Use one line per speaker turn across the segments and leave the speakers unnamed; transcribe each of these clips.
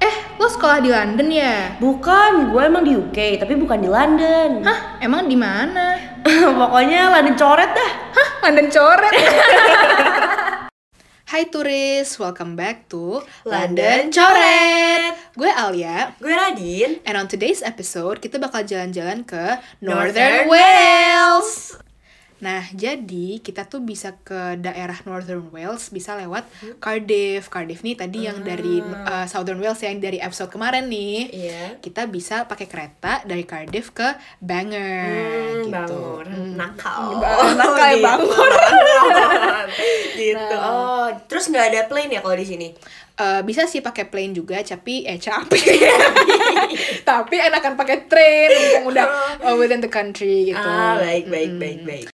Eh, sekolah di London ya?
Bukan, gue emang di UK, tapi bukan di London.
Hah, emang di mana?
Pokoknya London coret dah.
Hah, London coret. Hai turis, welcome back to London Coret. Gue Alia,
Gue Radin.
and on today's episode kita bakal jalan-jalan ke Northern
Northern
Wales. Nah, jadi kita tuh bisa ke daerah Northern Wales bisa lewat Cardiff. Cardiff nih tadi yang dari uh, Southern Wales yang dari episode kemarin nih.
Iya.
Kita bisa pakai kereta dari Cardiff ke Bangor
Hmm,
gitu.
Bangor.
Hmm.
Nakal.
Ba- nakal ya,
Gitu.
Bangor.
Nakal. gitu.
Nah.
Oh, terus nggak ada plane ya kalau di sini?
Eh, bisa sih pakai plane juga, tapi eh capek. tapi enakan pakai train mumpung udah uh, within the country gitu.
Ah, baik, baik, baik, baik.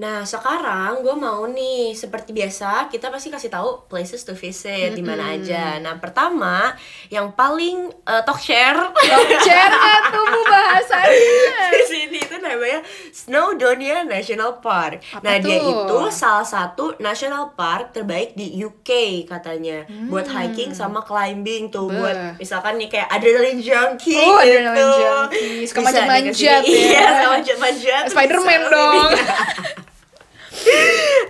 Nah, sekarang gue mau nih, seperti biasa, kita pasti kasih tahu places to visit di mana aja. Nah, pertama, yang paling eh, talk share
Share tuh Bu, bahasanya.
di sini itu namanya Snowdonia National Park.
Apa
nah, dia
tuh?
itu salah satu national park terbaik di UK katanya. Buat
Hmm.
hiking sama climbing tuh,
Beuh.
buat misalkan nih kayak adrenaline junkie
Oh,
gitu.
adrenaline junkie. Suka
Bisa nih ke sini.
manjat-manjat ya.
Iya, suka manjat-manjat.
Spider-Man
Bisa.
dong.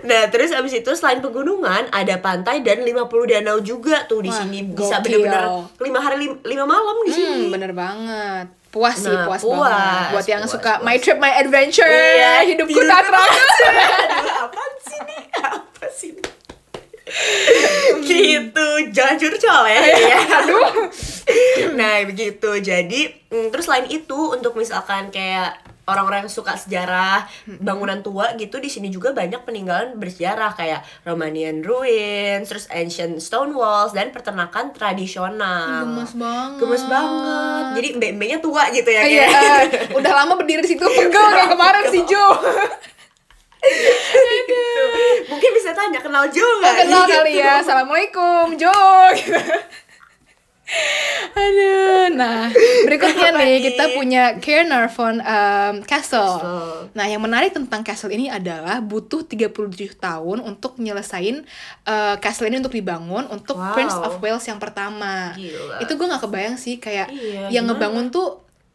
Nah, terus abis itu selain pegunungan ada pantai dan 50 danau juga tuh di
Wah,
sini. Bisa
gokil.
bener-bener 5 hari 5 malam di sini.
Hmm, bener banget. Puas sih,
Nah,
puas,
puas,
banget. Buat yang
puas,
suka
puas.
my trip, my adventure,
Iya,
hidupku
hidup-
tak terasa.
Aduh, apaan sih ini? Apa sih ini? gitu jajur cole ya nah begitu jadi mm, terus lain itu untuk misalkan kayak orang-orang yang suka sejarah bangunan tua gitu di sini juga banyak peninggalan bersejarah kayak Romanian ruins terus ancient stone walls dan peternakan tradisional
Gemes banget.
gemes banget jadi mbak-mbaknya tua gitu Iya, ya
Iya,
kayak
udah lama berdiri di situ pegel kayak kemarin si Jo.
gitu. mungkin bisa tanya kenal juga
Kenal kali ya,
iya.
assalamualaikum Jo. gitu. Aduh, nah berikutnya
Apa
nih
nih?
kita punya Caernarfon um, Castle.
Castle.
Nah yang menarik tentang castle ini adalah butuh 37 tahun untuk nyelesain uh, castle ini untuk dibangun untuk
Wow.
Prince of Wales yang pertama.
Gila.
Itu gue nggak kebayang sih kayak
Iya,
yang
gimana?
ngebangun tuh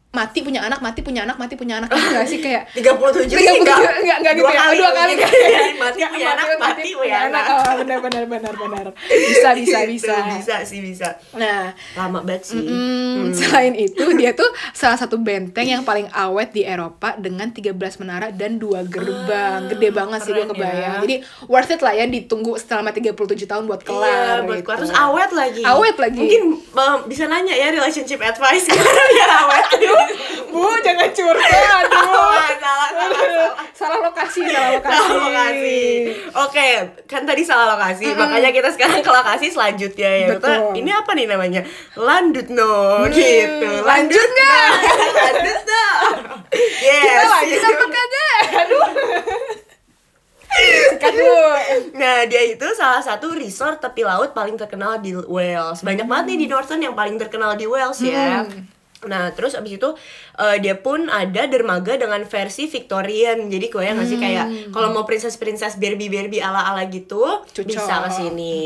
mati punya anak mati punya anak mati punya anak Gitu nggak sih kayak
37
37,
sih enggak,
enggak, enggak gitu
dua
ya.
kali, Iya,
Dua kali.
mati
Nggak,
punya anak, mati punya anak
Oh, benar benar benar benar. Bisa bisa
Gitu,
bisa.
bisa Hmm. sih bisa
Nah,
lama banget sih
mm, selain itu dia tuh salah satu benteng yang paling awet di Eropa dengan 13 menara dan dua gerbang. Gede banget sih gue
Ah, keren
kebayang.
ya.
Jadi worth it lah ya ditunggu selama 37 tahun buat kelar.
Iya, buat kelar
gitu.
terus awet lagi.
Awet lagi.
Mungkin um, bisa nanya ya relationship advice biar awet. Aduh,
Bu, jangan curhat. Aduh.
salah, salah, salah, salah.
salah lokasi, salah lokasi.
Salah lokasi. Oke, kan tadi salah lokasi, makanya kita sekarang ke lokasi selanjutnya ya.
Betul.
Kita- ini apa nih namanya? Landut no, gitu.
Hmm, lanjut nggak?
Landut no. Yes.
Kita lanjut apa kagak? Aduh. Sikat dulu.
Nah, dia itu salah satu resort tepi laut paling terkenal di Wales. Banyak banget nih di Northern yang paling terkenal di Wales ya.
Hmm.
Nah, terus abis itu eh, dia pun ada dermaga dengan versi Victorian. Jadi gue yang ngasih kayak kalau mau princess-princess Barbie-Barbie ala-ala gitu
Hmm. Cocok. Hmm.
bisa ke sini.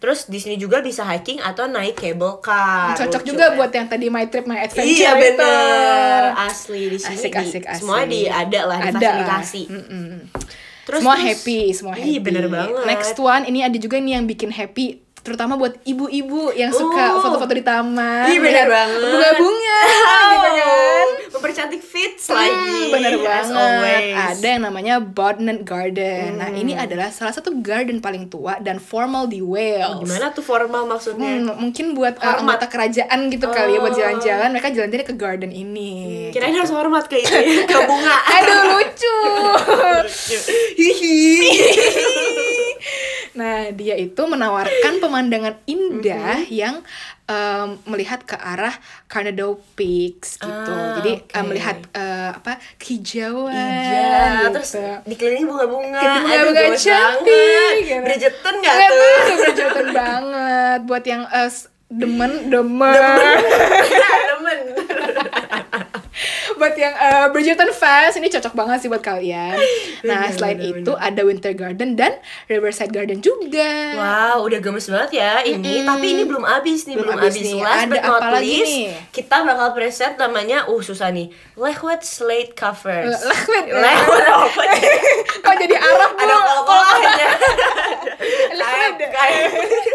Terus di sini juga bisa hiking atau naik cable car.
cocok
Lucu
juga
kan?
buat yang tadi my trip my adventure
Iya
itu.
bener asli di sini
asik
di-
asik asik
semua di ada lah
Ada
difasilitasi.
lah. Mm-mm. semua happy semua
Ih,
happy
bener banget.
next one ini ada juga nih yang bikin happy terutama buat ibu-ibu yang suka
Oh.
foto-foto di taman
Iya bener
lihat
banget.
Ah,
Oh.
bunga-bunga gitu kan
Mempercantik fits
Hmm,
lagi.
bener
as
banget.
always. Hmm.
Ada yang namanya Bodnant Garden. Nah, ini adalah salah satu garden paling tua dan formal di Wales.
Gimana tuh formal maksudnya?
Hmm, mungkin buat uh,
Iya. Hormat.
anggota kerajaan gitu kali ya buat
Oh. Iya.
jalan-jalan mereka jalan-jalan ke garden ini.
Kirain harus hormat ke itu, ya, ke bunga.
Hmm. Aduh lucu.
Hihi.
nah dia itu menawarkan pemandangan indah
Mm-hmm.
yang um, melihat ke arah Carnarvon Peaks gitu.
Ah,
Jadi
oke.
um, melihat uh, apa kehijauan.
Iya,
gitu.
terus dikelilingi bunga-bunga.
Kayak
Aduh,
bunga-bunga
gemes
cantik.
banget.
gitu.
Bridgerton nggak
Iya,
tuh?
bener, Bridgerton banget. Buat eh, yang uh, s- demen, demen.
Nah, Demen.
buat yang eh, Bridgerton fans ini cocok banget sih buat kalian. Nah,
Bener,
selain
bener,
itu ada Winter Garden dan Riverside Garden juga.
Wow, udah gemes banget ya ini. Tapi ini belum habis nih,
Hmm. Belum
belum,
habis
habis.
nih.
Last
Ada
but not
apa lagi
least,
nih?
kita bakal present namanya, uh susah nih. Lehwet Slate Covers.
Le- Lehwet.
Lehwet apa sih?
Kok jadi Arab, Bu?
Ada kol-kolannya.
Lehwet.
Kayak-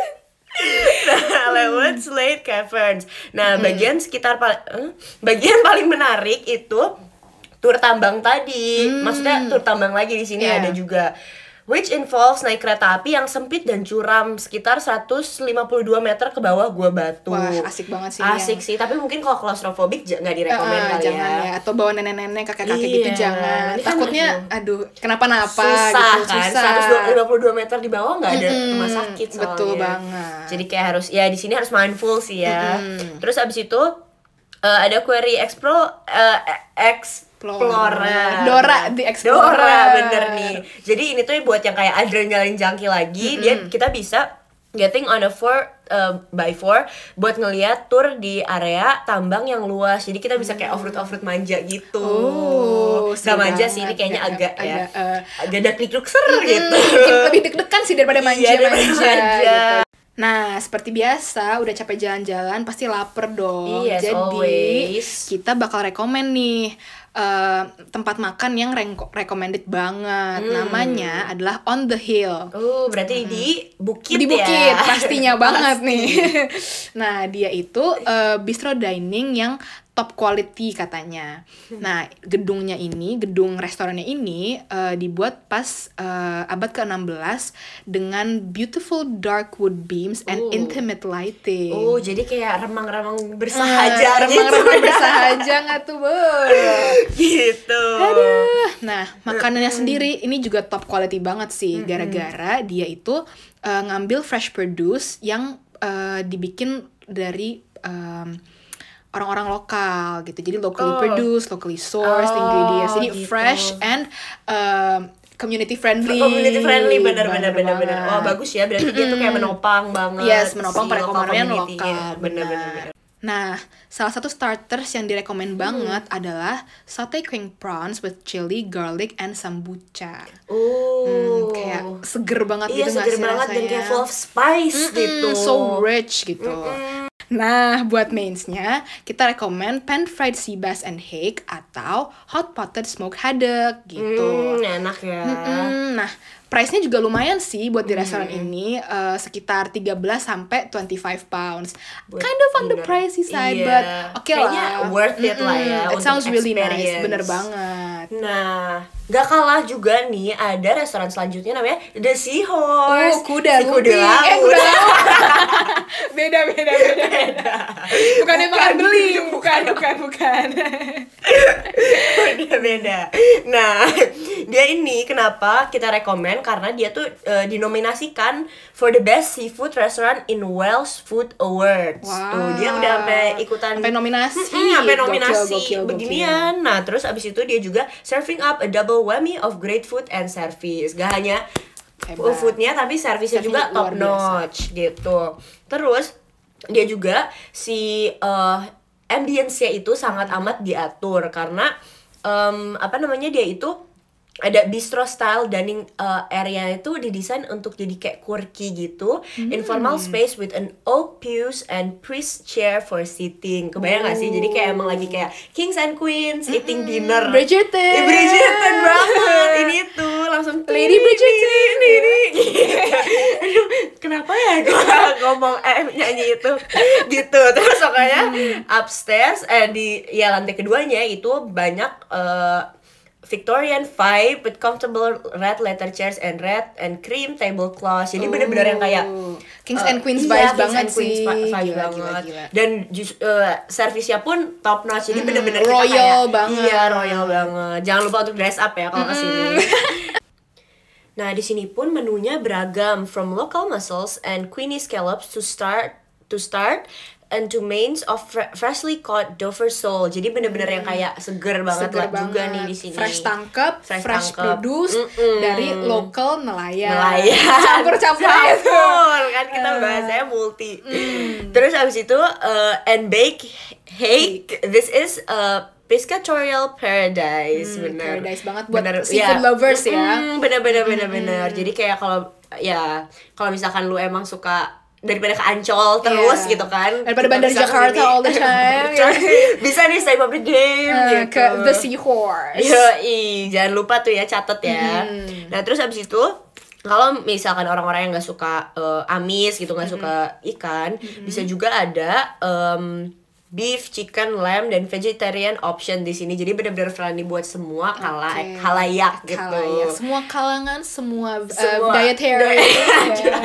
Nah, Lehwet Slate Caverns. Nah, bagian sekitar pal- eh, bagian paling menarik itu tur tambang tadi. Maksudnya tur tambang lagi di sini
Hmm. Iya.
ada juga which involves naik kereta api yang sempit dan curam sekitar 152 meter ke bawah gua batu.
Wah, asik banget sih
Asik
yang-
sih, tapi mungkin kalau claustrophobic ja- nggak
Eh,
direkomend
eh,
kali
jangan
ya.
ya. atau bawa nenek-nenek kakek-kakek gitu
Iya.
jangan
Ini kan
takutnya aduh kenapa-napa
susah
gitu
kan
susah
152 meter di bawah nggak ada rumah sakit soalnya.
betul banget.
jadi kayak harus ya di sini harus mindful sih ya terus abis itu eh, ada query explore eh, explorer
Dora, the Explorer.
Dora bener nih jadi ini tuh buat yang kayak adrenalin junkie lagi dia kita bisa Getting on a four eh, by four buat ngeliat tour di area tambang yang luas, jadi kita bisa kayak off road off road manja gitu.
Oh, Mm. seru
sama aja sih ini
banget.
kayaknya
Ya,
agak ya
agak, eh,
agak ada klik ser gitu
Mungkin lebih deg-degan sih daripada
Iya,
manja-manja
daripada manja.
gitu. Nah, seperti biasa, udah capek jalan-jalan, pasti lapar dong.
Yes,
Jadi,
Iya, always.
kita bakal rekomen nih eh, tempat makan yang rengko- recommended banget.
Hmm.
Namanya adalah On The Hill.
oh berarti di bukit
di bukit
ya
pastinya banget nih nah dia itu eh, bistro dining yang top quality katanya
Hmm.
nah gedungnya ini gedung restorannya ini eh, dibuat pas eh, abad ke-16 dengan beautiful dark wood beams and
Oh.
intimate lighting
oh jadi kayak remang-remang
Ah,
bersahaja gitu
remang-remang
ya.
bersahaja nggak tuh bu
gitu
Nah, makanannya sendiri ini juga top quality banget sih, gara-gara dia itu eh, ngambil fresh produce yang eh, dibikin dari em, orang-orang lokal gitu. Jadi locally
Oh.
produced, locally sourced
Oh,
ingredients. Jadi
gitu.
fresh and em, community friendly.
community friendly
Bener
benar-benar benar-benar
banget.
oh bagus ya berarti dia tuh kayak menopang banget
Yes, menopang
si
perekonomian
community-nya.
lokal,
benar-benar
benar.
benar.
Nah, salah satu starters yang direkomend banget adalah sate king prawns with chili, garlic, and sambuca.
oh
Hmm, kayak seger banget
iya
gitu nggak
seger
sih
banget dan
rasanya?
kayak full of spice
Mm-mm,
gitu
Hmm, so rich gitu nah buat mainsnya kita rekomen pan fried sea bass and hake atau hot potted smoked haddock gitu
Hmm, enak ya
Mm, nah price-nya juga lumayan sih buat di restoran ini eh, sekitar 13 sampai 25 pounds
Buat
kind of on the
dinner.
pricey side
Iya.
but oke
Kayaknya
lah
worth it lah ya
Mm-mm, it
untuk
sounds really nice
experience.
bener banget
Nah, gak kalah juga nih ada restoran selanjutnya namanya The
Oh,
Seahorse.
kuda
si
lumping.
kuda laut.
Eh, kuda laut. beda, beda, beda. beda. Bukannya makan beling, bukan, bukan, bukan.
Beda, beda. Nah, dia ini kenapa kita rekomen karena dia tuh eh, dinominasikan for the best seafood restaurant in Welsh Food Awards. Tuh, dia udah sampai ikutan
sampai nominasi.
Mm, sampai
Gokil,
nominasi
gokil, gokil.
beginian. Nah, terus abis itu dia juga serving up a double whammy of great food and service. Gak hanya
Hebat.
foodnya tapi servisnya
Servisnya
juga top
luar biasa.
notch gitu. Terus dia juga si eh ambience-nya itu sangat amat diatur karena em, apa namanya dia itu ada bistro style dining eh, area itu didesain untuk jadi kayak quirky gitu informal space with an oak pews and priest chair for sitting kebayang gak sih jadi kayak emang lagi kayak kings and queens eating dinner
Bridgerton.
Eh, Bridgerton banget ini tuh langsung
Lady Bridgerton.
ini ini aduh kenapa ya gua Iya. ngomong eh nyanyi itu gitu terus pokoknya upstairs eh di ya lantai keduanya itu banyak eh, Victorian vibe with comfortable red leather chairs and red and cream tablecloths. Jadi bener-bener yang kayak
Oh. Kings
eh,
and Queens
iya,
vibes
Kings
banget
and Queens
sih.
vi- vibe
Gila,
banget.
gila, gila. Hmm,
Dan jus- eh, servisnya pun top notch. Jadi bener-bener kita
royal
kayak,
banget. Hmm.
Iya, royal banget. Jangan lupa untuk dress up ya kalau kesini. Nah, di sini pun menunya beragam from local mussels and queenie scallops to start to start and to mains of fre- freshly caught Dover sole. Jadi bener-bener yang kayak seger banget
Hmm. Seger
lah juga
banget.
nih di sini.
Fresh tangkep, fresh,
Fresh tangkep.
produce dari lokal nelayan.
Nelayan.
Iya. Campur-campur Hmm. itu.
Campur, kan kita bahasanya multi.
Hmm.
Terus abis itu uh, and bake hake. This is a Piscatorial Paradise bener
Hmm, paradise banget buat
Bener,
seafood
ya.
lovers ya. Hmm.
Mm, bener bener bener bener jadi kayak kalau ya kalau misalkan lu emang suka daripada ke Ancol terus
Iya.
gitu kan
Daripada
kita
bandar
bisa
Jakarta
kesini.
all the time, ya.
bisa nih save up the game
Eh,
gitu. Iya.
ke the seahorse.
Yoi, jangan lupa tuh ya catat ya.
Mm-hmm.
Nah terus abis itu kalau misalkan orang-orang yang nggak suka eh, amis gitu
Mm-hmm.
nggak suka ikan, bisa juga ada em, beef, chicken, lamb dan vegetarian option di sini. Jadi benar-benar friendly buat semua kala
Oke.
halayak gitu.
Kalayak. ya, Semua kalangan, semua, uh,
Semua.
dietary. ya.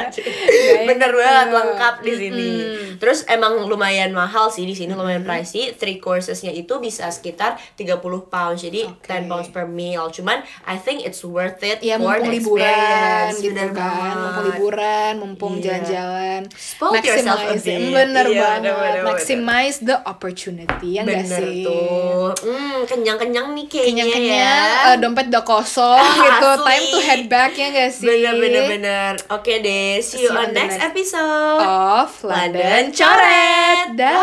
Diet-
bener banget
eh,
lengkap di sini. Terus emang lumayan mahal sih di sini lumayan pricey. Three coursesnya itu bisa sekitar 30 pounds. Jadi
Oke.
10 pounds per meal. Cuman I think it's worth it
Ya
for
mumpung
the
liburan
experience.
gitu
Bener
kan, mumpung
banget.
liburan, mumpung
Iya.
jalan-jalan.
Spoil yourself a
Maximizing.
bit.
Bener
Iya,
banget,
bener, bener, bener.
maximize the opportunity ya nggak
Bener
sih?
tuh. Hmm, kenyang-kenyang nih kayaknya
Kenyang-kenyang,
ya.
eh, dompet udah kosong gitu, time to head back ya nggak sih?
bener bener bener. Oke deh, see you on next episode.
Of Oh, London
London Coret.
Dah.